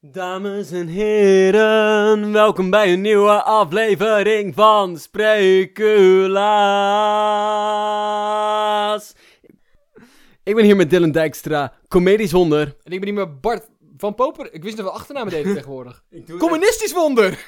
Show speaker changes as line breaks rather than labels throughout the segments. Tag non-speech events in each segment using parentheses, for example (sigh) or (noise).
Dames en heren, welkom bij een nieuwe aflevering van Spreculaas. Ik ben hier met Dylan Dijkstra, comedisch wonder.
En ik ben niet meer Bart van Poper. Ik wist niet wat achternamen
(laughs)
deden tegenwoordig.
Ik doe
Communistisch wonder! (laughs)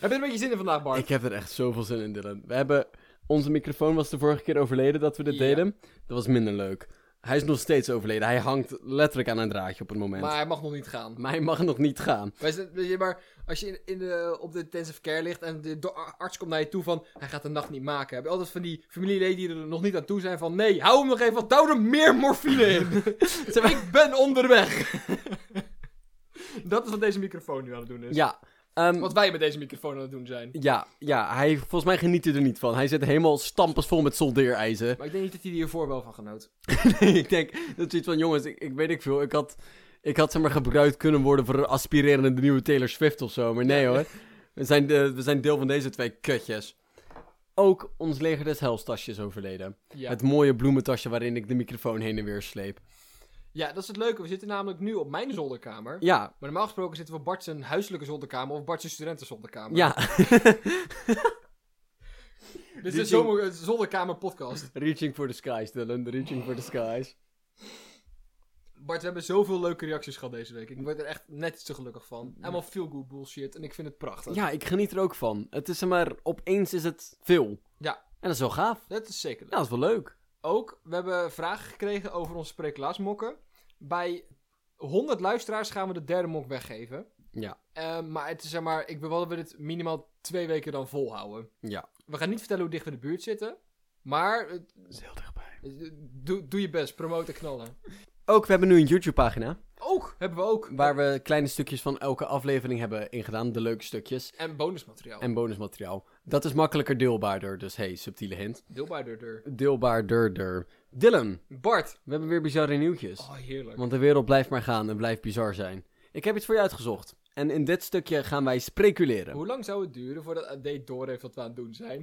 Heb je een beetje zin in vandaag, Bart?
Ik heb er echt zoveel zin in, Dylan. We hebben... Onze microfoon was de vorige keer overleden dat we dit
Ja.
deden. Dat was minder leuk. Hij is nog steeds overleden. Hij hangt letterlijk aan een draadje op het moment.
Maar
Maar,
hij mag nog niet gaan.
hij mag nog niet gaan.
Wij zijn- weet je, maar als je in, in de, op de intensive care ligt en de do- arts komt naar je toe van... Hij gaat de nacht niet maken. Heb je altijd van die familieleden die er nog niet aan toe zijn van... Nee, hou hem nog even, want douw er meer morfine
(laughs)
in. Zeg maar, ik ben onderweg. (laughs) Dat is wat deze microfoon nu aan het doen is.
Ja, ehm,
Wat wij met deze microfoon aan het doen zijn.
Ja, ja, hij, volgens mij geniet hij er niet van. Hij zit helemaal stampensvol met (laughs) soldeerijzer.
Maar ik denk niet dat hij hiervoor wel van genoot.
ik denk, dat is iets van, jongens, ik, ik weet ik veel. Ik had, ik had zeg maar gebruikt kunnen worden voor een aspirerende nieuwe Taylor Swift of zo. Maar nee hoor, we zijn, de, we zijn deel van deze twee kutjes. Ook ons leger des hels tasje is overleden.
Ja.
Het mooie bloementasje waarin ik de microfoon heen en weer sleep.
Ja, dat is het leuke. We zitten namelijk nu op mijn zolderkamer.
Ja,
Maar normaal gesproken zitten we op Bart zijn huiselijke zolderkamer of Bart zijn studentenzolderkamer.
ja.
Dit is
die-
een zomer, een zolderkamerpodcast.
(laughs) reaching for the skies, Dylan. Reaching for the skies.
Bart, we hebben zoveel leuke reacties gehad deze week. Ik word er echt net iets te gelukkig van. Helemaal veel good bullshit en ik vind het prachtig.
Ja, ik geniet er ook van. Het is zeg maar, opeens is het veel.
Ja.
En dat is wel gaaf.
Dat is zeker leuk.
Ja, dat is wel leuk.
Ook, we hebben vragen gekregen over onze spreeklaarsmokken. Bij 100 luisteraars gaan we de derde mok weggeven.
Ja.
Eh, maar het is zeg maar, ik wil wel dat we dit minimaal twee weken dan volhouden.
Ja.
We gaan niet vertellen hoe dicht we in de buurt zitten. Maar eh,
Dat is heel dichtbij.
Dus, Doe, doe je best, promote en knallen.
Ook, we hebben nu een YouTube-pagina.
Ook, hebben we ook.
Waar we kleine stukjes van elke aflevering hebben ingedaan. De leuke stukjes.
En bonusmateriaal. En...
En bonusmateriaal. Dat is makkelijker deelbaarder. Dus hey, subtiele hint.
Deelbaarder.
Deelbaarderder. Dylan,
Bart.
we hebben weer bizarre nieuwtjes.
Oh, heerlijk.
Want de wereld blijft maar gaan en blijft bizar zijn. Ik heb iets voor je uitgezocht. En in dit stukje gaan wij speculeren.
Hoe lang zou het duren voordat AD door heeft wat we aan het doen (laughs) zijn?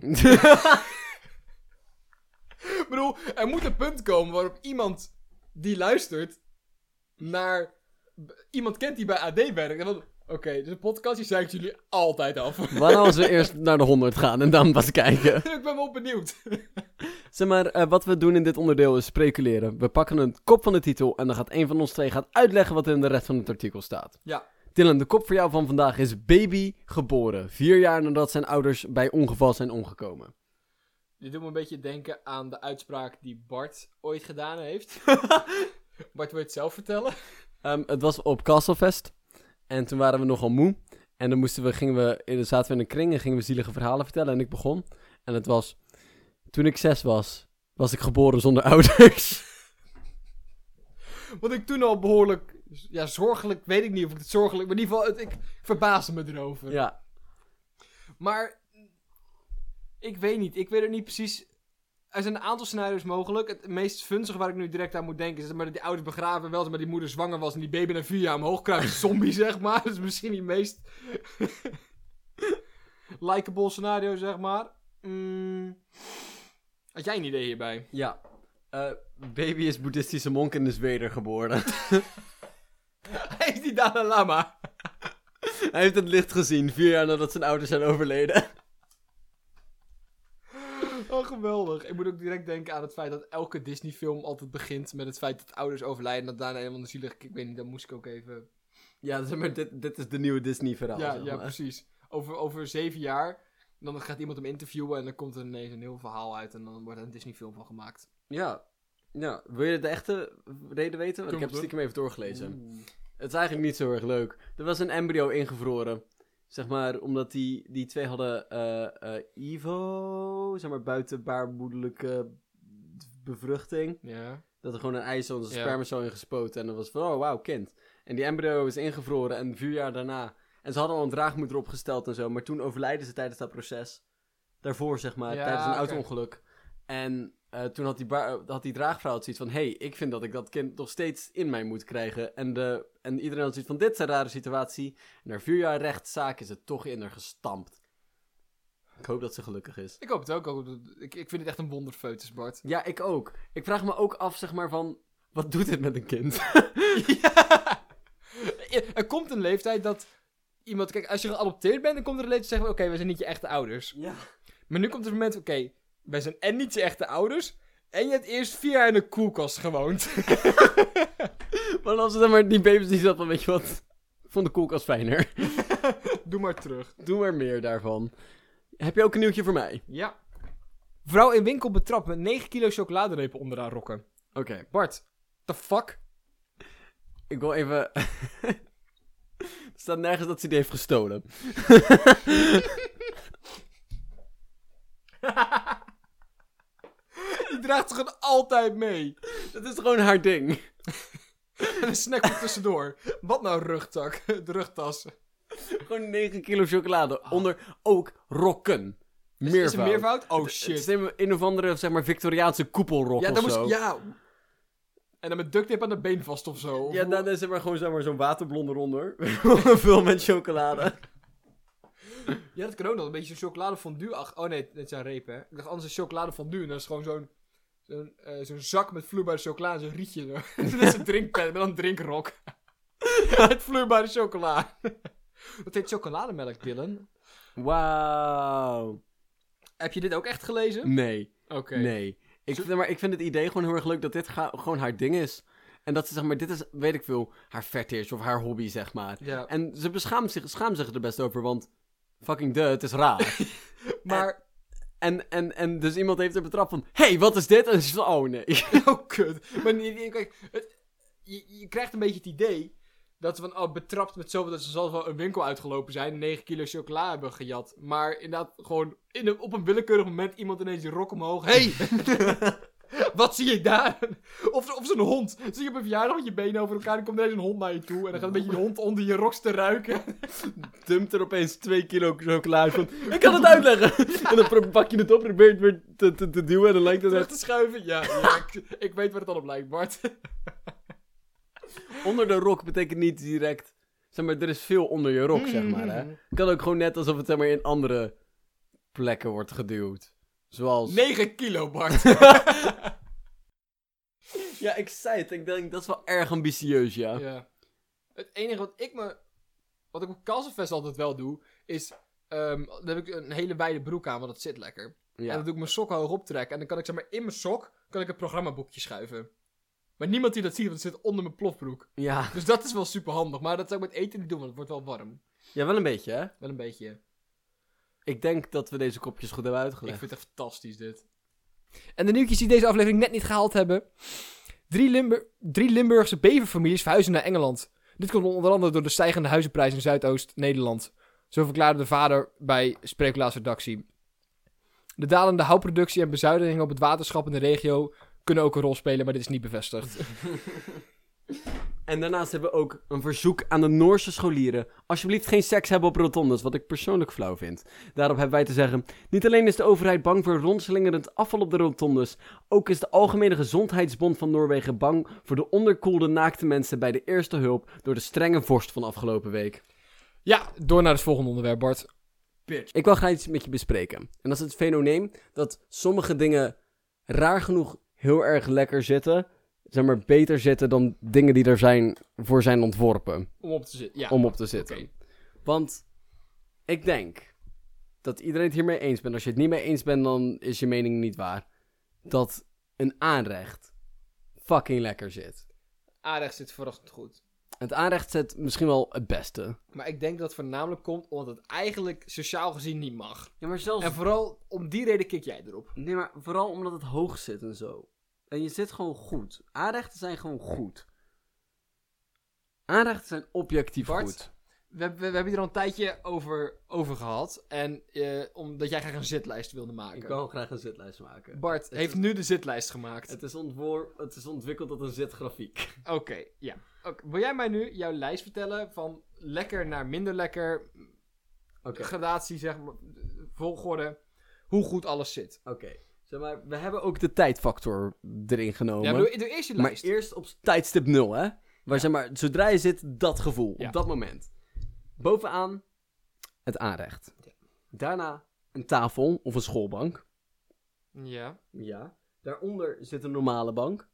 ik bedoel, er moet een punt komen waarop iemand die luistert naar... b- Iemand kent die bij AD werkt. En dan, oké, dus een podcast, die zeikt jullie altijd (laughs) af.
Waarom als we eerst naar de 100 gaan en dan pas kijken?
ik ben wel benieuwd.
Zeg maar, eh, wat we doen in dit onderdeel is speculeren. We pakken een kop van de titel en dan gaat een van ons twee gaat uitleggen wat er in de rest van het artikel staat.
ja.
Dylan, de kop voor jou van vandaag is baby geboren. Vier jaar nadat zijn ouders bij ongeval zijn omgekomen.
Dit doet me een beetje denken aan de uitspraak die Bart ooit gedaan heeft. (laughs) Bart, wil je het zelf vertellen?
Ehm, het was op Castlefest. En toen waren we nogal moe. En dan moesten we, gingen we, in- zaten we in een kring en gingen we zielige verhalen vertellen. En ik begon. En het was, toen ik zes was, was ik geboren zonder (laughs) ouders.
Wat ik toen al behoorlijk... Ja, zorgelijk, weet ik niet of ik het zorgelijk... Maar in ieder geval, het, ik verbaasde me erover.
ja,
Maar... Ik weet niet. Ik weet het niet precies... Er zijn een aantal scenario's mogelijk. Het meest funzige waar ik nu direct aan moet denken... is dat maar dat die ouders begraven wel... maar die moeder zwanger was... en die baby na vier jaar omhoog kruipt. (laughs) Zombie, zeg maar. Dat is misschien die meest... (laughs) likable scenario, zeg maar. Mm. Had jij een idee hierbij?
ja. Eh, baby is boeddhistische monk en is wedergeboren. (laughs)
Hij is die Dalai Lama.
Hij heeft het licht gezien, vier jaar nadat zijn ouders zijn overleden. (laughs)
Oh, geweldig. Ik moet ook direct denken aan het feit dat elke Disney-film altijd begint met het feit dat ouders overlijden. En dat daarna helemaal de zielige... Ik weet niet, dat moest ik ook even...
Ja, zeg maar, dit, dit is de nieuwe Disney-verhaal.
ja,
zeg
ja,
maar.
precies. Over, over zeven jaar, dan gaat iemand hem interviewen en dan komt er ineens een heel verhaal uit. En dan wordt er een Disney-film van gemaakt.
Ja. Ja, wil je de echte reden weten? Want ik
Doe
heb
maar.
het stiekem even doorgelezen.
Oeh.
Het is eigenlijk niet zo erg leuk. Er was een embryo ingevroren. Zeg maar, omdat die, die twee hadden eh, eh, Ivo, zeg maar, buitenbaarmoedelijke bevruchting.
Ja.
Dat er gewoon een ei zat, een
Ja.
sperma zo in gespoten. En dat was van, oh wauw, kind. En die embryo is ingevroren en vier jaar daarna. En ze hadden al een draagmoeder opgesteld en zo. Maar toen overlijden ze tijdens dat proces. Daarvoor, zeg maar,
Ja,
tijdens een
oké.
auto-ongeluk. En eh, toen had die, ba- had die draagvrouw het zoiets van... Hé, hey, ik vind dat ik dat kind nog steeds in mij moet krijgen. En, de, en iedereen had zoiets van, dit is een rare situatie. En na vier jaar rechtszaak is het toch in haar gestampt. Ik hoop dat ze gelukkig is.
Ik hoop het ook. ook. Ik, ik vind het echt een wonderfeutus, (laughs) Bart.
Ja, ik ook. Ik vraag me ook af, zeg maar, van... Wat doet dit met een kind?
ja. er komt een leeftijd dat iemand... Kijk, als je geadopteerd bent, dan komt er een leeftijd zeggen we... Oké, wij zijn niet je echte ouders.
Ja.
Maar nu komt het moment... Oké, wij zijn en niet je echte ouders... En je hebt eerst vier jaar in een koelkast gewoond.
Maar als ze dan maar die baby's die zat van, weet je wat, vond de koelkast fijner.
(laughs) Doe maar terug.
Doe maar meer daarvan. Heb je ook een nieuwtje voor mij?
Ja. Vrouw in winkel betrapt met 9 kilo chocoladerepen onder haar rokken.
Oké,
Bart, the fuck?
ik wil even... (laughs) Er staat nergens dat ze die heeft gestolen.
Die draagt ze gewoon altijd mee.
Dat is gewoon haar ding.
En een snack er tussendoor. Wat nou rugtak? De rugtas.
Gewoon 9 kilo chocolade. Onder ook rokken. Meervoud.
Is het meervoud? Oh
Het is
shit.
een, een of andere, zeg maar, Victoriaanse koepelrok
Ja,
of
dan
zo.
moest... Ja. En dan met duct tape aan de been vast of zo. Of
Ja,
hoe-
dan is er maar gewoon zeg maar, zo'n waterblond eronder. (laughs) Vul met chocolade.
ja, dat kan ook nog. Een beetje zo'n chocoladefondue. Ach, oh nee, het zijn repen. hè. Ik dacht anders is chocoladefondue. En dat is gewoon zo'n... Zo'n eh, zo'n zak met vloeibare chocola en zo'n rietje. (laughs) zo. dat is een drinkpet met een drinkrok. (laughs) Met vloeibare chocola. (laughs) Dat heet chocolademelk, Dylan.
Wauw.
Heb je dit ook echt gelezen?
Nee,
Oké.
nee. Ik, vind- maar ik vind het idee gewoon heel erg leuk dat dit ga- gewoon haar ding is. En dat ze zeg maar, dit is, weet ik veel, haar fetish of haar hobby, zeg maar.
Ja.
En ze beschaamt zich, schaamt zich er best over, want fucking duh, het is
(laughs)
raar.
Maar...
en, en, en dus iemand heeft er betrapt van, hey, wat is dit? En ze van, oh nee. (laughs)
(laughs) Oh, kut. Maar niet- niet- kijk, het- je, je krijgt een beetje het idee dat ze van, oh, betrapt met zoveel dat ze zelfs wel een winkel uitgelopen zijn, 9 kilo chocola hebben gejat. Maar inderdaad, gewoon in een, op een willekeurig moment iemand ineens je rok
(laughs)
omhoog. hey! Wat zie ik daar? Of, of zo'n hond. Zie je op een verjaardag met je benen over elkaar, dan komt ineens een hond naar je toe. En dan gaat een beetje die hond onder je roks te ruiken.
dumpt er opeens 2 kilo chocola uit van, ik kan
(laughs)
het uitleggen. en dan pro- pak je het op, probeer het weer te, te, te duwen en dan lijkt het (laughs)
Terug
echt...
te schuiven. Ja, ja ik, ik weet waar het dan op lijkt, Bart.
Onder de rok betekent niet direct, zeg maar, er is veel onder je rok,
Mm.
zeg maar.
(laughs)
Hè? Kan ook gewoon net alsof het zeg maar, in andere plekken wordt geduwd. Zoals...
9 kilo, Bart.
Ja, ik zei het, ik denk, dat is wel erg ambitieus, ja.
Ja. Het enige wat ik me. Wat ik op Kalsenfest altijd wel doe. Is. ehm dan heb ik een hele wijde broek aan, want dat zit lekker. En dan doe ik mijn sokken hoog optrekken. En dan kan ik zeg maar in mijn sok. Kan ik het programmaboekje schuiven. Maar niemand die dat ziet, want het zit onder mijn plofbroek.
Ja.
Dus dat is wel super handig. Maar dat zou ik met eten niet doen, want het wordt wel warm.
ja, wel een beetje, hè.
Wel een beetje.
Ik denk dat we deze kopjes goed hebben
Ik
uitgelegd.
vind het echt fantastisch dit. En de nieuwtjes die deze aflevering net niet gehaald hebben. Drie, Limburg, drie Limburgse beverfamilies verhuizen naar Engeland. Dit komt onder andere door de stijgende huizenprijzen in Zuidoost-Nederland. Zo verklaarde de vader bij Spreeklaatsredactie. De dalende houtproductie en bezuinigingen op het waterschap in de regio kunnen ook een rol spelen, maar dit is niet bevestigd. (laughs)
En daarnaast hebben we ook een verzoek aan de Noorse scholieren. Alsjeblieft geen seks hebben op rotondes, wat ik persoonlijk flauw vind. Daarop hebben wij te zeggen, niet alleen is de overheid bang voor rondslingerend afval op de rotondes, ook is de Algemene Gezondheidsbond van Noorwegen bang voor de onderkoelde naakte mensen bij de eerste hulp door de strenge vorst van afgelopen week.
Ja, door naar het volgende onderwerp, Bart.
Ik wil graag iets met je bespreken. En dat is het fenomeen dat sommige dingen raar genoeg heel erg lekker zitten, zeg maar beter zitten dan dingen die er zijn, voor zijn ontworpen.
Om op te zitten, ja.
om op te zitten.
Oké.
Want ik denk dat iedereen het hiermee eens bent. Als je het niet mee eens bent, dan is je mening niet waar. Dat een aanrecht fucking lekker zit.
Aardig zit verrassend goed.
Het aanrecht zit misschien wel het beste.
Maar ik denk dat het voornamelijk komt omdat het eigenlijk sociaal gezien niet mag.
Ja, maar zelfs...
En vooral om die reden kik jij erop.
Nee, maar vooral omdat het hoog zit en zo. En je zit gewoon goed. Aanrechten zijn gewoon goed. Aanrechten zijn objectief
Bart?
goed.
We, hebben- we hebben hier al een tijdje over, over gehad. En eh, omdat jij graag een zitlijst wilde maken.
Ik wil graag een zitlijst maken.
Bart
Het
heeft
is-
nu de zitlijst gemaakt.
Het is, ontwoor- het is ontwikkeld tot een zitgrafiek. (laughs)
Oké, ja. Oké, Wil jij mij nu jouw lijst vertellen van lekker naar minder lekker,
Oké.
gradatie zeg maar, volgorde, hoe goed alles zit?
Oké. Zeg maar, we hebben ook de tijdfactor erin genomen.
Ja, doe, doe eerst je
maar
lijst.
eerst op tijdstip 0, hè? Waar zeg maar, zodra je zit, dat gevoel.
Ja.
Op dat moment. Bovenaan het aanrecht. Daarna een tafel of een schoolbank.
Ja.
Ja. Daaronder zit een normale bank.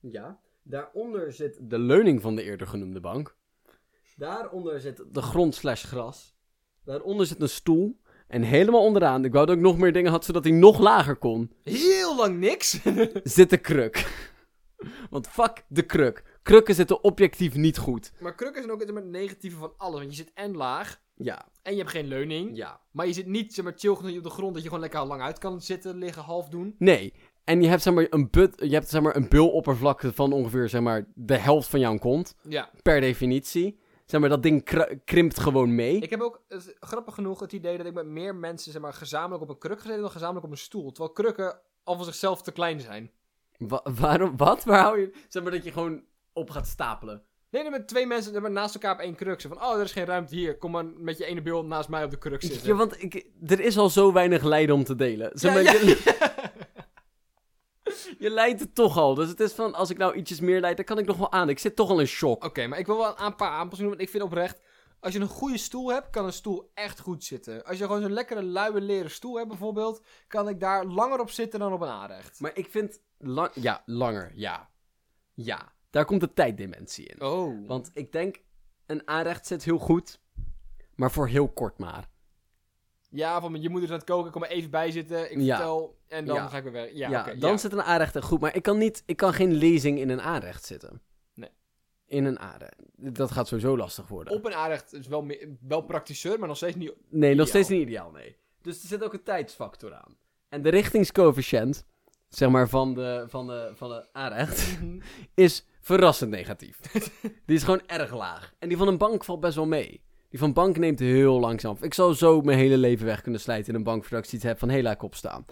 Ja.
Daaronder zit,
De leuning van de eerder genoemde bank.
daaronder zit
De grond slash gras. Daaronder zit een stoel. En helemaal onderaan, ik wou dat ik nog meer dingen had zodat hij nog lager
(laughs)
kon,
Heel lang niks. (laughs)
zit de kruk. (laughs) Want fuck de kruk. Krukken zitten objectief niet goed.
maar krukken zijn ook het negatieve van alles. Want je zit en laag.
Ja,
En je hebt geen leuning.
ja.
Maar je zit niet zeg maar, chill genoeg op de grond dat je gewoon lekker lang uit kan zitten, liggen, half doen.
Nee. En je hebt zeg maar een, but, je hebt, zeg maar, een biloppervlakte van ongeveer zeg maar, de helft van jouw kont.
Ja.
per definitie. Zeg maar, dat ding kr- krimpt gewoon mee.
Ik heb ook, eh, grappig genoeg, het idee dat ik met meer mensen zeg maar, gezamenlijk op een kruk gezeten heb dan gezamenlijk op een stoel. Terwijl krukken al van zichzelf te klein zijn.
Wa- waarom? Wat? Waar hou je... Zeg maar dat je gewoon op gaat stapelen.
Nee, dan met twee mensen zeg maar, naast elkaar op één kruk. Zo van, oh, er is geen ruimte hier. Kom maar met je ene bil naast mij op de kruk zitten.
Ja, want ik, er is al zo weinig lijden om te delen. Zeg
Ja,
maar,
ja.
Je,
(laughs)
je lijdt het toch al. Dus het is van, als ik nou ietsjes meer lijd, dan kan ik nog wel aan. Ik zit toch al in shock.
Oké, maar ik wil wel een paar aanpassingen doen, want ik vind oprecht... Als je een goede stoel hebt, kan een stoel echt goed zitten. Als je gewoon zo'n lekkere, luie leren stoel hebt bijvoorbeeld... kan ik daar langer op zitten dan op een aanrecht.
Maar ik vind... lang- ja, langer. Ja. Ja. Daar komt de tijddimensie in.
Oh.
Want ik denk, een aanrecht zit heel goed. Maar voor heel kort maar.
Ja, van je moeder is aan het koken, kom er even bij zitten. Ik
Ja.
vertel en dan
Ja.
ga ik weer weg. Ja,
Ja,
oké,
dan
ja.
zit een aanrecht er goed. Maar ik kan, niet, ik kan geen lezing in een aanrecht zitten.
Nee.
In een aanrecht. Dat gaat sowieso lastig worden.
Op een aanrecht is wel, meer- wel praktischer, maar nog
(laughs)
steeds niet...
nee, nog
ideaal.
steeds niet ideaal, nee. Dus er zit ook een tijdsfactor aan. En de richtingscoëfficiënt, zeg maar, van de, van de, van de aanrecht,
Mhm.
(laughs) is verrassend negatief. (laughs) die is gewoon erg laag. En die van een bank valt best wel mee. Die van bank neemt heel langzaam. Ik zou zo mijn hele leven weg kunnen slijten in een bank voordat ik iets heb van hela kop staan.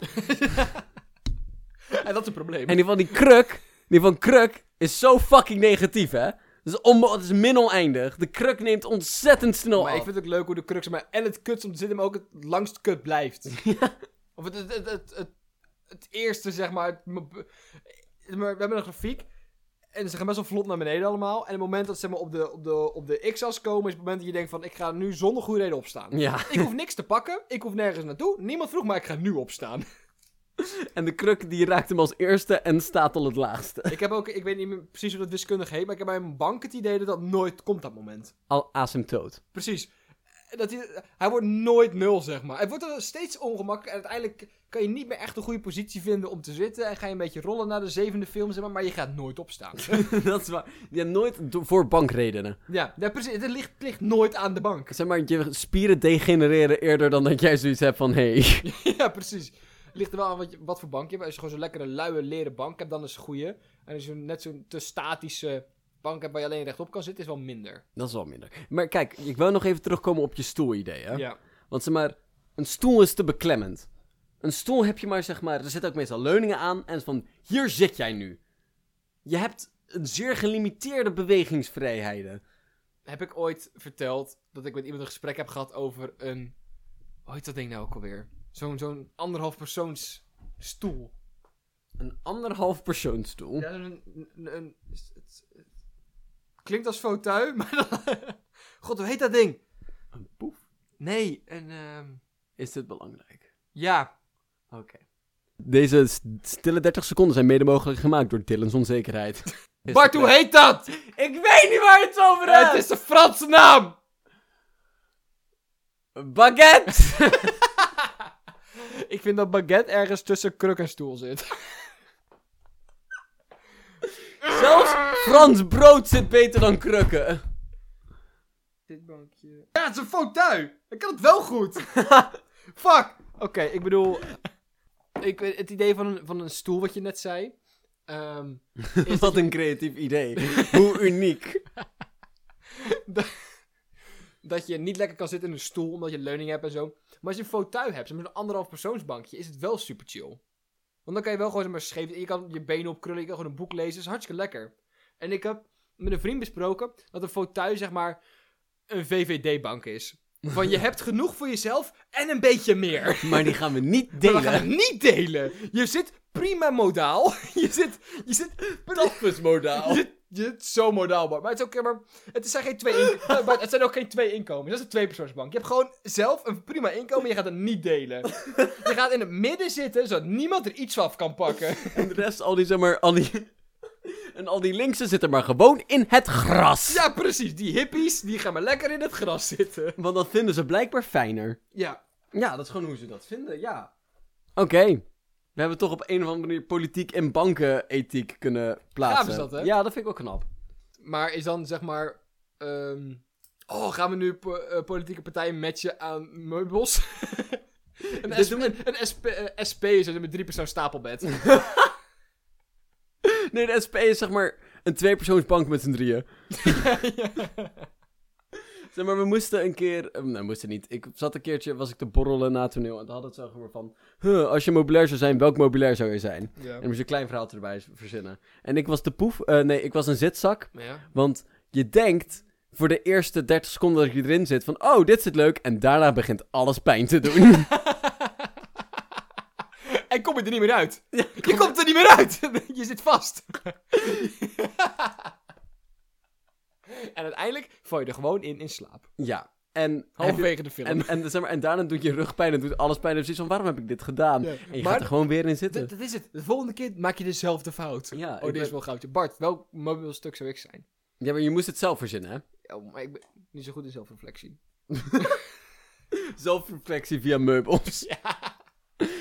en dat is een probleem.
En die van die kruk, die van kruk is zo fucking negatief, hè? Dat is, onmo- het is min oneindig. De kruk neemt ontzettend snel
maar
af.
ik vind het ook leuk hoe de crux maar en het kut om te zitten, maar ook het langst kut
(laughs)
blijft. Of het, het, het, het, het, het eerste, zeg maar, het- maar. We hebben een grafiek. En ze gaan best wel vlot naar beneden allemaal. En het moment dat ze maar, op de, op de, op de x-as komen, is het moment dat je denkt van... Ik ga nu zonder goede reden opstaan.
Ja,
Ik hoef niks te pakken. Ik hoef nergens naartoe. Niemand vroeg, maar ik ga nu opstaan. (laughs)
en de kruk die raakt hem als eerste en staat al het laagste.
Ik heb ook, ik weet niet meer precies hoe dat wiskundig heet, maar ik heb bij een bank het idee dat dat nooit komt, dat moment.
Al asymptoot.
Precies. Dat hij, hij wordt nooit nul, zeg maar. Het wordt dan steeds ongemakkelijk en uiteindelijk kan je niet meer echt een goede positie vinden om te zitten en ga je een beetje rollen naar de zevende film, zeg maar, maar je gaat nooit (laughs) opstaan.
dat is waar. Je hebt nooit do- voor bankredenen.
ja, ja, precies. Het ligt, het ligt nooit aan de bank.
Zeg maar, je spieren degenereren eerder dan dat jij zoiets hebt van... Hé, hey,
(laughs) ja, precies. Het ligt er wel aan wat, je- wat voor bank je hebt. Als je gewoon zo'n lekkere, luie leren bank hebt, dan is het een goeie. En als je net zo'n te statische bank hebt waar je alleen rechtop kan zitten, is wel minder.
dat is wel minder. Maar kijk, ik wil nog even terugkomen op je stoelidee, hè?
ja.
Want zeg maar, een stoel is te beklemmend. Een stoel heb je maar, zeg maar, er zitten ook meestal leuningen aan en van, hier zit jij nu. Je hebt een zeer gelimiteerde bewegingsvrijheden.
heb ik ooit verteld dat ik met iemand een gesprek heb gehad over een. Hoe heet dat ding nou ook alweer? Zo'n zo'n anderhalf persoons stoel.
Een anderhalf persoonstoel.
Ja, een, een, een- het- het- het klinkt als fauteuil, (laughs) maar dan. God, hoe heet dat ding?
Een poef.
Nee, een. ehm,
Is dit belangrijk?
ja.
Oké. Deze s- stille 30 seconden zijn mede mogelijk gemaakt door Dylan's (laughs) onzekerheid. Is
Bart,
de-
hoe heet dat?
Ik weet niet waar je het over hebt!
Het is de Franse naam!
Baguette! (laughs)
Ik vind dat baguette ergens tussen kruk en stoel zit.
Zelfs Frans brood zit beter dan krukken.
Dit bankje. Ja, het is een fauteuil! Ik kan het wel (laughs) goed! Fuck! Oké, ik bedoel. Ik, weet- het idee van een, van een stoel, wat je net zei. ehm,
Wat een creatief idee. Hoe uniek.
dat je niet lekker kan zitten in een stoel omdat je leuning hebt en zo. Maar als je een fauteuil hebt, zeg maar een anderhalf persoonsbankje, is het wel super chill. Want dan kan je wel gewoon zeg maar scheef. Je kan je benen opkrullen, je kan gewoon een boek lezen. Dat is hartstikke lekker. En ik heb met een vriend besproken dat een fauteuil zeg maar een VVD-bank is. Van je hebt genoeg voor jezelf en een beetje meer.
Maar die gaan we niet
Maar
delen.
we gaan het niet delen. Je zit prima modaal. (laughs) Je zit, je zit, je
(laughs) Taffesmodaal.
zit, je zit zo modaal, Bart. Maar het, is ook, maar het, zijn geen twee in- eh, Bart, het zijn ook geen twee inkomens. Dat is een tweepersoonsbank. Je hebt gewoon zelf een prima inkomen. Je gaat het niet delen. Je gaat in het midden zitten, zodat niemand er iets van af kan pakken.
En de rest, al die, zeg maar, al die... En al die linksen zitten maar gewoon in het gras.
Ja, precies. Die hippies, die gaan maar lekker in het gras zitten.
Want dat vinden ze blijkbaar fijner.
Ja.
Ja, dat is gewoon hoe ze dat vinden, ja. Oké. We hebben toch op een of andere manier politiek en bankenethiek kunnen plaatsen.
Gaaf is dat, hè?
Ja, dat vind ik wel knap.
Maar is dan, zeg maar... ehm, oh, gaan we nu po- eh, politieke partijen matchen aan meubels? (laughs) een,
Dit
SP, een SP, eh, SP is met drie persoon
(laughs)
stapelbed.
Nee, de SP is zeg maar een tweepersoonsbank met z'n (laughs) drieën. Zeg maar, we moesten een keer... eh, Nee, we moesten niet. Ik zat een keertje, was ik te borrelen na het toneel. En toen hadden we het zo gewoon van... Huh, als je mobilair zou zijn, welk mobilair zou je zijn? En
ja.
dan moest je een klein verhaaltje erbij z- verzinnen. En ik was de poef... eh, nee, ik was een zitzak.
ja.
Want je denkt voor de eerste 30 seconden dat je erin zit van... Oh, dit zit leuk. En daarna begint alles pijn te doen. (laughs)
En kom je er niet meer uit. je komt er niet meer uit. (laughs) je zit vast. (laughs) en uiteindelijk val je er gewoon in in slaap.
ja. En, heb je-
Halverwege de film.
en, en, zeg maar, en daarna doet je rugpijn en doet alles pijn. En precies van, waarom heb ik dit gedaan?
Ja.
En je
Maar-
gaat er gewoon weer in zitten.
Dat, dat is het. De volgende keer maak je dezelfde fout.
Ja,
oh,
ik
dit is
ben-
wel goudje. Bart, welk mobiel stuk zou ik zijn?
Ja, maar je moest het zelf verzinnen, hè?
Oh, maar ik ben niet zo goed in zelfreflectie.
Zelfreflectie via meubels. (laughs)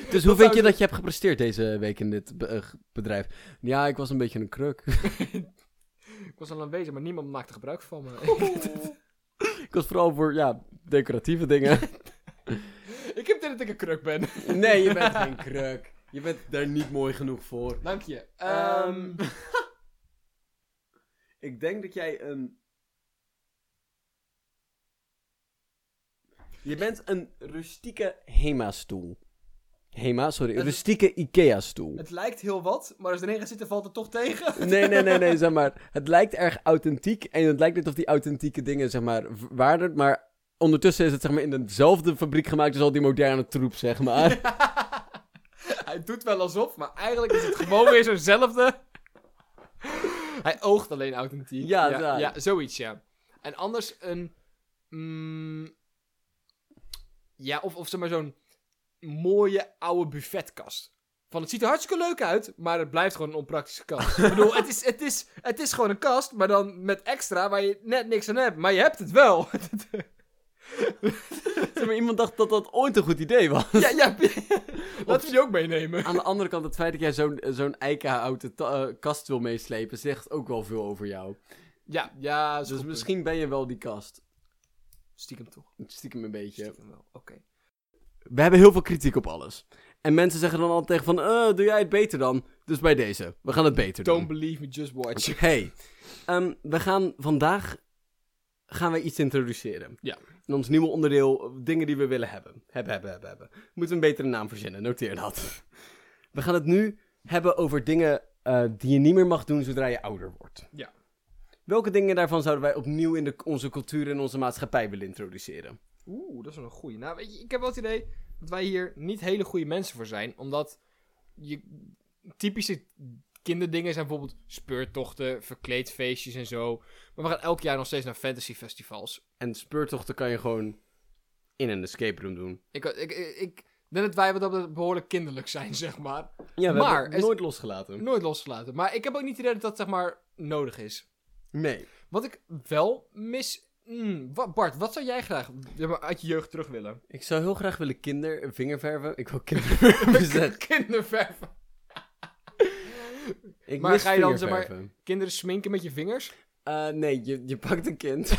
Dus hoe vind je dat je hebt gepresteerd deze week in dit be- eh, g- bedrijf? Ja, ik was een beetje een kruk. (laughs)
Ik was al aanwezig, maar niemand maakte gebruik van me.
ik was vooral voor, ja, decoratieve dingen.
(laughs) ik heb dit dat ik een kruk ben.
(laughs) nee, je (laughs) bent geen kruk. Je bent daar niet mooi genoeg voor.
Dank je.
Ehm,
Ehm,
ik denk dat jij een... Je bent een rustieke Hema-stoel. Hema, sorry.
Het-
rustieke Ikea-stoel.
het lijkt heel wat, maar als er een gaat zitten valt het toch tegen.
Nee, nee, nee, nee, zeg maar. Het lijkt erg authentiek. En het lijkt net of die authentieke dingen, zeg maar, v- waardert. Maar ondertussen is het, zeg maar, in dezelfde fabriek gemaakt als al die moderne troep, zeg maar.
(laughs) Hij doet wel alsof, maar eigenlijk is het gewoon weer zo'nzelfde. Hij oogt alleen authentiek.
Ja,
ja,
daar.
ja, zoiets, ja. En anders een... mm, ja, of, of zeg maar zo'n mooie oude buffetkast. Van, het ziet er hartstikke leuk uit, maar het blijft gewoon een onpraktische kast. Ik bedoel, het is, het, is, het is gewoon een kast, maar dan met extra waar je net niks aan hebt. Maar je hebt het wel.
(laughs)
(laughs)
zeg maar, iemand dacht dat dat ooit een goed idee was.
ja, ja. (laughs) Laten we die ook meenemen.
Aan de andere kant, het feit dat jij zo'n zo'n eikenhouten ta- eh, kast wil meeslepen, zegt ook wel veel over jou.
Ja, ja. is
Dus
goed.
misschien ben je wel die kast.
Stiekem toch.
Stiekem een beetje.
Stiekem wel, oké.
We hebben heel veel kritiek op alles. En mensen zeggen dan altijd tegen van, eh, doe jij het beter dan? Dus bij deze, we gaan het beter doen.
Don't believe me, just
(laughs)
watch.
Hey, ehm, we gaan vandaag gaan we iets introduceren.
Ja.
In ons nieuwe onderdeel, eh, dingen die we willen hebben. Hebben, hebben, hebben, hebben. Moeten we een betere naam verzinnen, noteer dat. We gaan het nu hebben over dingen eh, die je niet meer mag doen zodra je ouder wordt.
Ja.
Welke dingen daarvan zouden wij opnieuw in de, onze cultuur en onze maatschappij willen introduceren?
Oeh, dat is wel een goeie. Nou, weet je, ik heb wel het idee dat wij hier niet hele goede mensen voor zijn. Omdat je typische kinderdingen zijn bijvoorbeeld speurtochten, verkleedfeestjes en zo. Maar we gaan elk jaar nog steeds naar fantasyfestivals.
En speurtochten kan je gewoon in een escape room doen.
Ik, ik, ik, ik denk dat wij wat dat betreft behoorlijk kinderlijk zijn, (laughs) zeg maar.
Ja,
we
we
hebben
maar,
het
nooit losgelaten.
Nooit losgelaten. Maar ik heb ook niet het idee dat dat, zeg maar, nodig is.
Nee.
Wat ik wel mis... Mm, wa- Bart, wat zou jij graag zeg maar, uit je jeugd terug willen?
Ik zou heel graag willen kinder... vingerverven. Ik wil (laughs) kinderverven
(laughs)
zeggen.
Kinderverven.
Ik
Maar
mis
ga je dan, zeg maar-
vingerverven.
Kinderen sminken met je vingers?
Eh, nee, je, je pakt een (laughs) kind.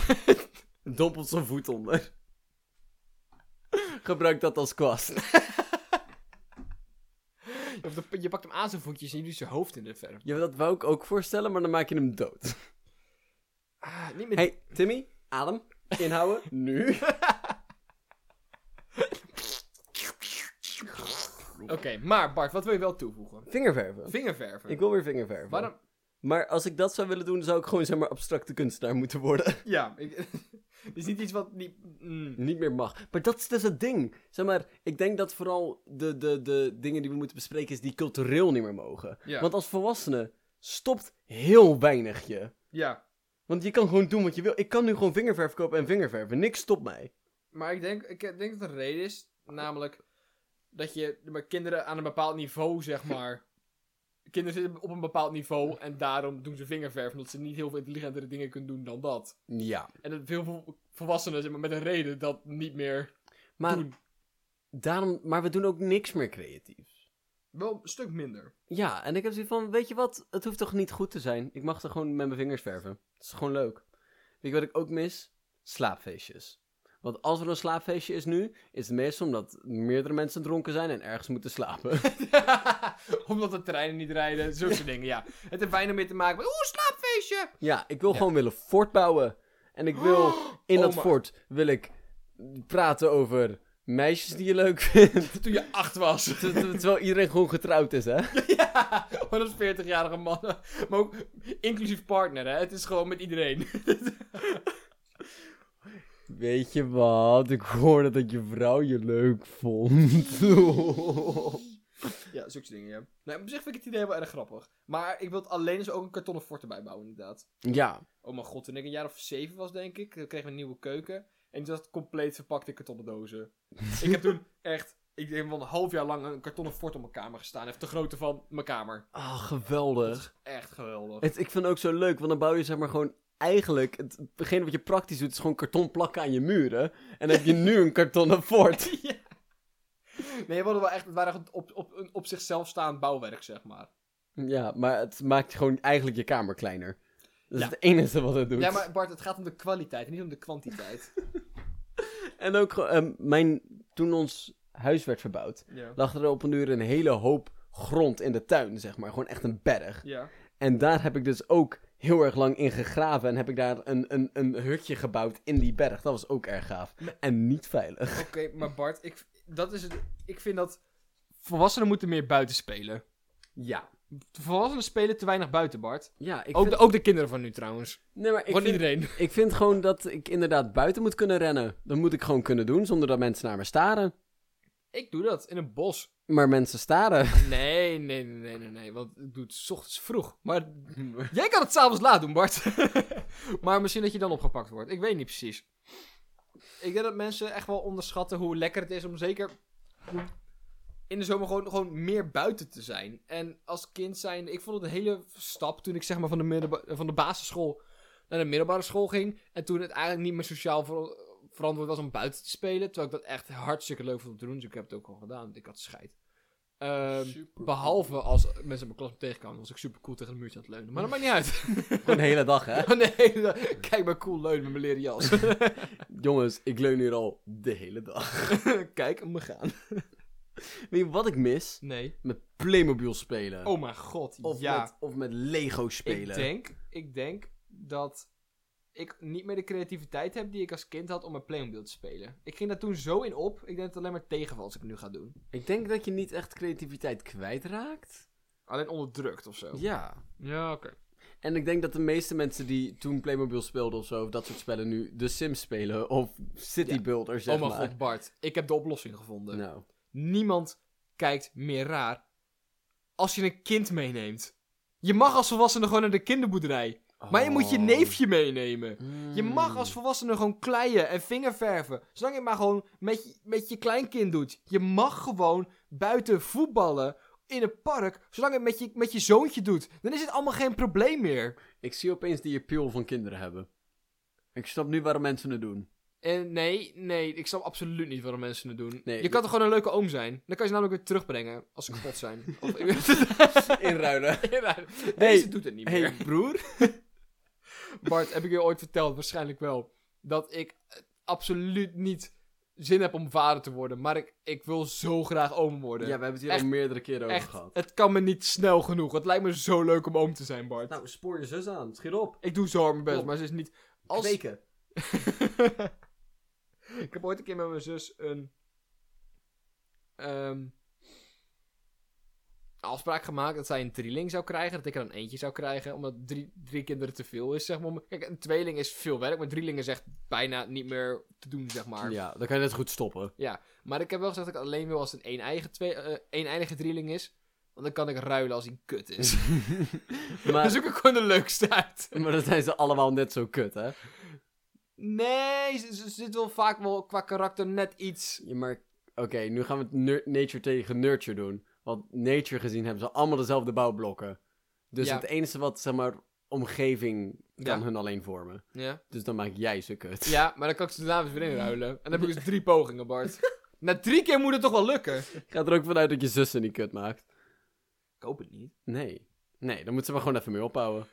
dompelt zijn voet onder. Gebruik dat als kwast.
Of de- je pakt hem aan zijn voetjes en je doet zijn hoofd in de verf.
Ja, dat wou ik ook voorstellen, maar dan maak je hem dood.
Ah, niet met...
Hey, Timmy, adem. Inhouden. nu.
Oké, maar Bart, wat wil je wel toevoegen?
Vingerverven.
Vingerverven.
Ik wil weer vingerverven.
Waarom?
Maar als ik dat zou willen doen, zou ik gewoon zeg maar abstracte kunstenaar moeten worden.
Ja, ik... (laughs) het is niet iets wat niet... mm.
Niet meer mag. Maar dat is dus het ding. Zeg maar, ik denk dat vooral de, de, de dingen die we moeten bespreken is die cultureel niet meer mogen.
Ja.
Want als volwassene stopt heel weinig je.
Ja,
Want je kan gewoon doen wat je wil. Ik kan nu gewoon vingerverf kopen en vingerverven. Niks stopt mij.
maar ik denk, ik denk dat er een reden is, namelijk dat je maar kinderen aan een bepaald niveau, zeg maar, Kinderen zitten op een bepaald niveau en daarom doen ze vingerverf. Omdat ze niet heel veel intelligentere dingen kunnen doen dan dat.
Ja.
En dat veel vo- volwassenen zeg maar, met een reden dat niet meer
Maar,
doen.
daarom, maar we doen ook niks meer creatiefs.
Wel een stuk minder.
Ja, en ik heb zoiets van, weet je wat, het hoeft toch niet goed te zijn. Ik mag er gewoon met mijn vingers verven. Het is gewoon leuk. Weet je wat ik ook mis? Slaapfeestjes. Want als er een slaapfeestje is nu, is het meestal omdat meerdere mensen dronken zijn en ergens moeten
(laughs)
slapen.
Omdat de treinen niet rijden, zulke dingen, ja. Het heeft weinig meer te maken met, oeh, slaapfeestje!
ja, ik wil gewoon willen fortbouwen. En ik wil,
(gasps)
in
oh
dat
my-
fort, wil ik praten over meisjes die je leuk vindt. (laughs)
Toen je acht (laughs) was.
Ter- ter- Terwijl iedereen gewoon getrouwd is,
(laughs)
hè?
ja, gewoon als 40-jarige mannen. Maar ook inclusief partner, hè. Het is gewoon met iedereen. (laughs)
Weet je wat? Ik hoorde dat je vrouw je leuk
(laughs)
vond.
ja, zulke dingen, ja. Nee, op zich vind ik het idee wel erg grappig. Maar ik wil het alleen eens ook een kartonnen fort erbij bouwen, inderdaad.
ja,
Oh mijn god, toen ik een jaar of zeven was, denk ik, toen kregen we een nieuwe keuken. En die zat compleet verpakt in kartonnen (laughs) dozen. ik heb toen echt, ik denk wel een half jaar lang een kartonnen fort op mijn kamer gestaan. Heeft de grootte van mijn kamer.
Ah, geweldig.
Echt geweldig.
Het, ik vind het ook zo leuk, want dan bouw je zeg maar gewoon... Eigenlijk, het, hetgene wat je praktisch doet, is gewoon karton plakken aan je muren. En dan heb je nu een kartonnen fort. (laughs)
(laughs) ja. Nee, we hadden wel echt, het waren echt op, op, een op zichzelf staand bouwwerk, zeg maar.
Ja, maar het maakt gewoon eigenlijk je kamer kleiner. Dat is
Ja.
het enige wat het doet.
Ja, maar Bart, het gaat om de kwaliteit, niet om de kwantiteit.
En ook, gewoon, ehm, mijn, toen ons huis werd verbouwd,
(laughs) ja.
lag er op een uur een hele hoop grond in de tuin, zeg maar. Gewoon echt een berg.
ja.
En daar heb ik dus ook heel erg lang in gegraven. En heb ik daar een, een, een hutje gebouwd in die berg. Dat was ook erg gaaf. En niet veilig.
Oké, maar Bart, ik, dat is het, ik vind dat volwassenen moeten meer buiten spelen.
Ja.
Volwassenen spelen te weinig buiten, Bart.
Ja, ik
Ook,
vind...
de, ook de kinderen van nu trouwens.
Nee, maar ik
Gewoon
vind,
iedereen.
ik vind gewoon dat ik inderdaad buiten moet kunnen rennen. Dat moet ik gewoon kunnen doen zonder dat mensen naar me staren.
Ik doe dat in een bos.
Maar mensen staren.
Nee, nee, nee, nee, nee, nee. Want ik doe het 's ochtends vroeg.
(laughs)
Maar jij kan het s'avonds laat doen, Bart. (laughs) maar misschien dat je dan opgepakt wordt. Ik weet niet precies. Ik denk dat mensen echt wel onderschatten hoe lekker het is om zeker in de zomer gewoon, gewoon meer buiten te zijn. En als kind zijn, ik vond het een hele stap toen ik zeg maar van de, middelba- eh, van de basisschool naar de middelbare school ging. En toen het eigenlijk niet meer sociaal ver- verantwoord was om buiten te spelen. Terwijl ik dat echt hartstikke leuk vond om te doen. Dus ik heb het ook al gedaan, want ik had scheid. Ehm, Behalve als mensen in mijn klas me tegenkwamen, was ik super cool tegen een muurtje aan het leunen. Maar dat maakt niet uit.
(laughs) Gewoon de hele
(laughs)
dag, hè?
Oh, nee, (laughs) kijk maar cool leunen met mijn leren jas.
Jongens, ik leun hier al de hele dag.
(laughs) kijk hem me gaan.
(laughs) Weet je wat ik mis?
(laughs) (laughs) Nee.
Met Playmobil spelen.
Oh mijn god,
of,
ja.
met, of met Lego spelen.
Ik denk, ik denk dat ik niet meer de creativiteit heb die ik als kind had om met Playmobil te spelen. Ik ging daar toen zo in op, ik denk dat het alleen maar tegenvalt als ik het nu ga doen.
ik denk dat je niet echt creativiteit kwijtraakt.
Alleen onderdrukt of zo.
Ja.
Ja, oké.
En ik denk dat de meeste mensen die toen Playmobil speelden of zo, of dat soort spellen nu The Sims spelen of City
Ja.
Builder, zeg
Oh mijn
maar.
god, Bart, ik heb de oplossing gevonden.
Nou,
Niemand kijkt meer raar als je een kind meeneemt. Je mag als volwassene gewoon naar de kinderboerderij. Maar je moet je
Oh.
neefje meenemen. Je mag
Mm.
als volwassene gewoon kleien en vingerverven. Zolang je het maar gewoon met je, met je kleinkind doet. Je mag gewoon buiten voetballen in een park. Zolang je het met je, met je zoontje doet. Dan is het allemaal geen probleem meer.
Ik zie opeens die appeal van kinderen hebben. Ik snap nu waarom mensen het doen.
En nee, nee, ik snap absoluut niet waarom mensen het doen.
Nee,
je
je-
kan toch gewoon een leuke oom zijn? Dan kan je ze namelijk weer terugbrengen als ze kapot zijn. of,
Inruilen.
(laughs) Deze doet het niet meer.
hey, broer.
(laughs) Bart, heb ik je ooit verteld, waarschijnlijk wel, dat ik eh, absoluut niet zin heb om vader te worden. Maar ik, ik wil zo graag oom
Ja,
worden.
we hebben het hier
Echt,
al meerdere keren over
Echt,
gehad.
het kan me niet snel genoeg. Het lijkt me zo leuk om oom te zijn, Bart.
Nou, spoor je zus aan. Schiet op.
ik doe zo hard mijn best,
Klopt.
maar ze is niet... Als...
Kweken.
ik heb ooit een keer met mijn zus een... ehm, afspraak gemaakt dat zij een drieling zou krijgen. Dat ik er dan eentje zou krijgen. Omdat drie, drie kinderen te veel is, zeg maar. Kijk, een tweeling is veel werk. Maar drieling is echt bijna niet meer te doen, zeg maar.
Ja, dan kan je net goed stoppen.
Maar ik heb wel gezegd dat ik het alleen wil als het een eeneiige, twee, eh, eeneilige drieling is. Want dan kan ik ruilen als hij kut
(laughs)
is. (laughs)
Maar,
dus ik er gewoon de leukste uit.
maar dan zijn ze allemaal net zo kut, hè?
Nee, ze, ze zit wel vaak wel qua karakter net iets.
Ja, maar oké, nu gaan we het nur- nature tegen nurture doen. wat nature gezien hebben ze allemaal dezelfde bouwblokken. Dus
Ja.
het enige wat, zeg maar, omgeving kan
Ja.
hun alleen vormen.
Ja.
Dus dan maak jij ze kut.
ja, maar dan kan ik ze daarna weer inruilen. En dan heb ik dus drie pogingen, Bart. Na drie keer moet het toch wel lukken?
Ik ga er ook vanuit dat je zussen niet kut maakt.
Ik hoop het niet.
Nee. Nee, dan moeten ze maar gewoon even mee ophouden.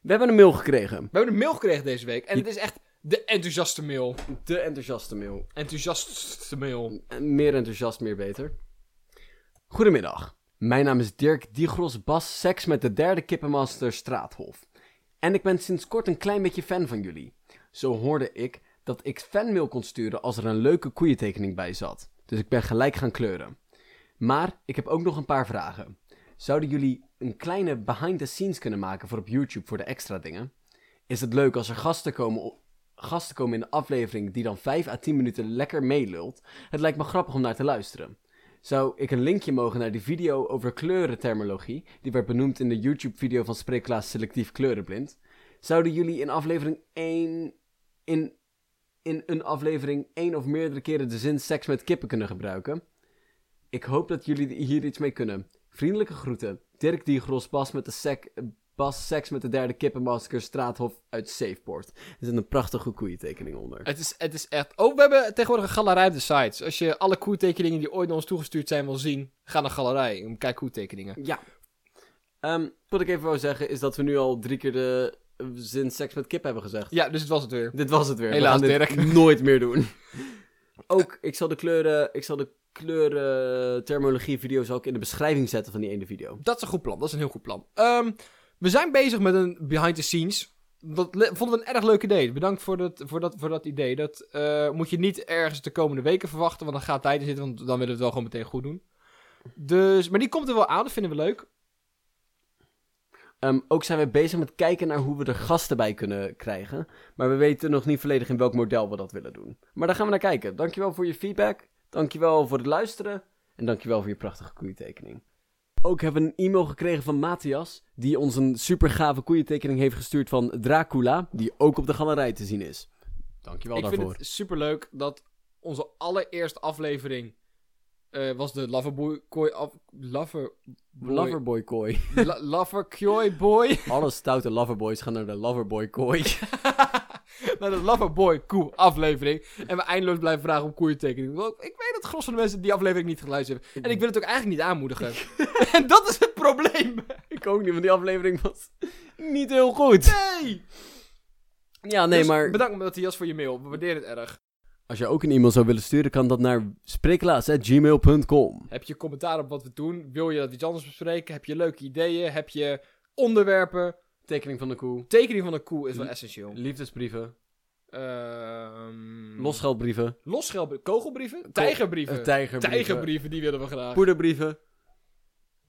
We hebben een mail gekregen.
We hebben een mail gekregen deze week. En het is echt de enthousiaste mail.
De enthousiaste mail.
Enthousiastste mail.
En Meer enthousiast, meer beter. Goedemiddag. Mijn naam is Dirk Diegros Bas Seks met de derde Kippenmaster Straathof. En ik ben sinds kort een klein beetje fan van jullie. Zo hoorde ik dat ik fanmail kon sturen als er een leuke koeientekening bij zat. Dus ik ben gelijk gaan kleuren. Maar ik heb ook nog een paar vragen. Zouden jullie een kleine behind the scenes kunnen maken voor op YouTube voor de extra dingen? Is het leuk als er gasten komen, op- gasten komen in de aflevering die dan 5 à 10 minuten lekker meelult? Het lijkt me grappig om naar te luisteren. Zou ik een linkje mogen naar die video over kleurenthermologie, die werd benoemd in de YouTube-video van Spreeklaas Selectief Kleurenblind? Zouden jullie in aflevering 1 in, in een aflevering één of meerdere keren de zin seks met kippen kunnen gebruiken? Ik hoop dat jullie hier iets mee kunnen. Vriendelijke groeten. Dirk Diegros, Bas met de sek, Bas Seks met de derde kippenmasker, Straathof uit Safeport. Er zit een prachtige koeientekening onder.
Het is, het is echt... Oh, we hebben tegenwoordig een galerij op de site. Dus als je alle koetekeningen die ooit naar ons toegestuurd zijn wil zien... Ga naar galerij en kijk koetekeningen.
Ja. Ehm, wat ik even wou zeggen is dat we nu al drie keer de eh, zin seks met kip hebben gezegd.
Ja, dus het was het weer.
Dit was het weer.
Helaas,
we gaan dit
(laughs)
nooit meer doen. Ook, ik zal de kleuren, ik zal de kleuren thermologie video zal ik in de beschrijving zetten van die ene video.
Dat is een goed plan. Dat is een heel goed plan. Ehm, we zijn bezig met een behind the scenes. Dat le- vonden we een erg leuk idee. Bedankt voor dat, voor dat, voor dat idee. Dat eh, moet je niet ergens de komende weken verwachten. Want dan gaat tijd in zitten. Want dan willen we het wel gewoon meteen goed doen. Dus, maar die komt er wel aan. Dat vinden we leuk.
Ehm, ook zijn we bezig met kijken naar hoe we er gasten bij kunnen krijgen. Maar we weten nog niet volledig in welk model we dat willen doen. Maar daar gaan we naar kijken. Dankjewel voor je feedback. Dankjewel voor het luisteren. En dankjewel voor je prachtige koeientekening. Ook hebben we een e-mail gekregen van Matthias. Die ons een super gave koeientekening heeft gestuurd van Dracula. Die ook op de galerij te zien is. Dankjewel
Ik
daarvoor.
vind het superleuk dat onze allereerste aflevering... eh, was de Loverboy... Kooi af, lover... Boy,
Loverboy kooi.
La- lover Koi Boy.
(laughs) Alle stoute loverboys gaan naar de loverboy kooi.
(laughs) naar de Loverboy Koe aflevering. En we eindeloos blijven vragen om koeientekeningen. Want Ik weet dat het gros van de mensen die aflevering niet geluisterd hebben. En ik wil het ook eigenlijk niet
(laughs)
aanmoedigen. en dat is het probleem.
(laughs) Ik ook niet, want die aflevering was (laughs) niet heel goed.
Nee!
Ja, nee,
Dus
maar...
Bedankt Matthias voor je mail. We waarderen het erg.
Als je ook een e-mail zou willen sturen, kan dat naar spreeklaas.gmail.com.
Heb je commentaar op wat we doen? Wil je dat we iets anders bespreken? Heb je leuke ideeën? Heb je onderwerpen?
Tekening van de koe,
Tekening van een koe is wel essentieel.
liefdesbrieven,
Ehm,
losgeldbrieven,
losgeld- kogelbrieven? Tijgerbrieven.
eh, tijgerbrieven,
Tijgerbrieven, die willen we graag. (laughs)
poederbrieven.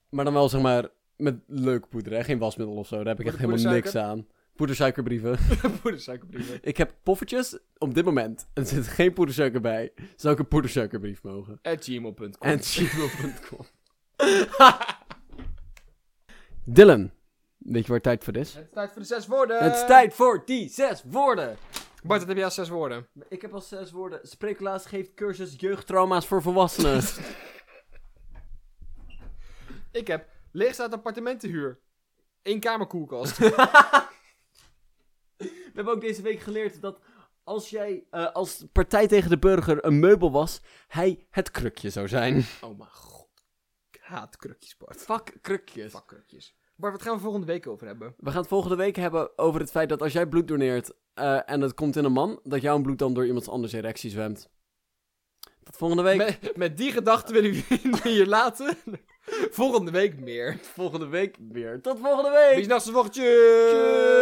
Maar dan wel, zeg maar, met leuk poeder, hè? geen wasmiddel of zo. Daar heb ik echt
Poeder-
helemaal niks aan. Poedersuikerbrieven. (laughs)
Poedersuikerbrieven.
ik heb poffertjes op dit moment. En er zit geen poedersuiker bij. Zou ik een poedersuikerbrief mogen?
At gmail.com.
En (laughs) gmail.com. Dylan, weet je waar het tijd voor is?
Het is tijd voor de zes woorden.
Het is tijd voor die zes woorden.
Bart, dat heb jij als zes woorden.
Ik heb al zes woorden. Spreeklaas geeft cursus jeugdtrauma's voor (laughs) volwassenen.
Ik heb leegstaand appartementenhuur. Eén kamer (laughs) koelkast.
We hebben ook deze week geleerd dat als jij eh, als Partij tegen de Burger een meubel was, hij het krukje zou zijn.
oh mijn god. Ik haat krukjes, Bart.
(laughs) Fuck krukjes.
Fuck krukjes. Bart, wat gaan we volgende week over hebben?
We gaan het volgende week hebben over het feit dat als jij bloed doneert eh, en het komt in een man, dat jouw bloed dan door iemand anders erectie zwemt. Tot volgende week.
Met, met die gedachten willen we (laughs) jullie hier laten. Volgende week meer.
Volgende week weer. Tot volgende week.
Bis nachts, volgende.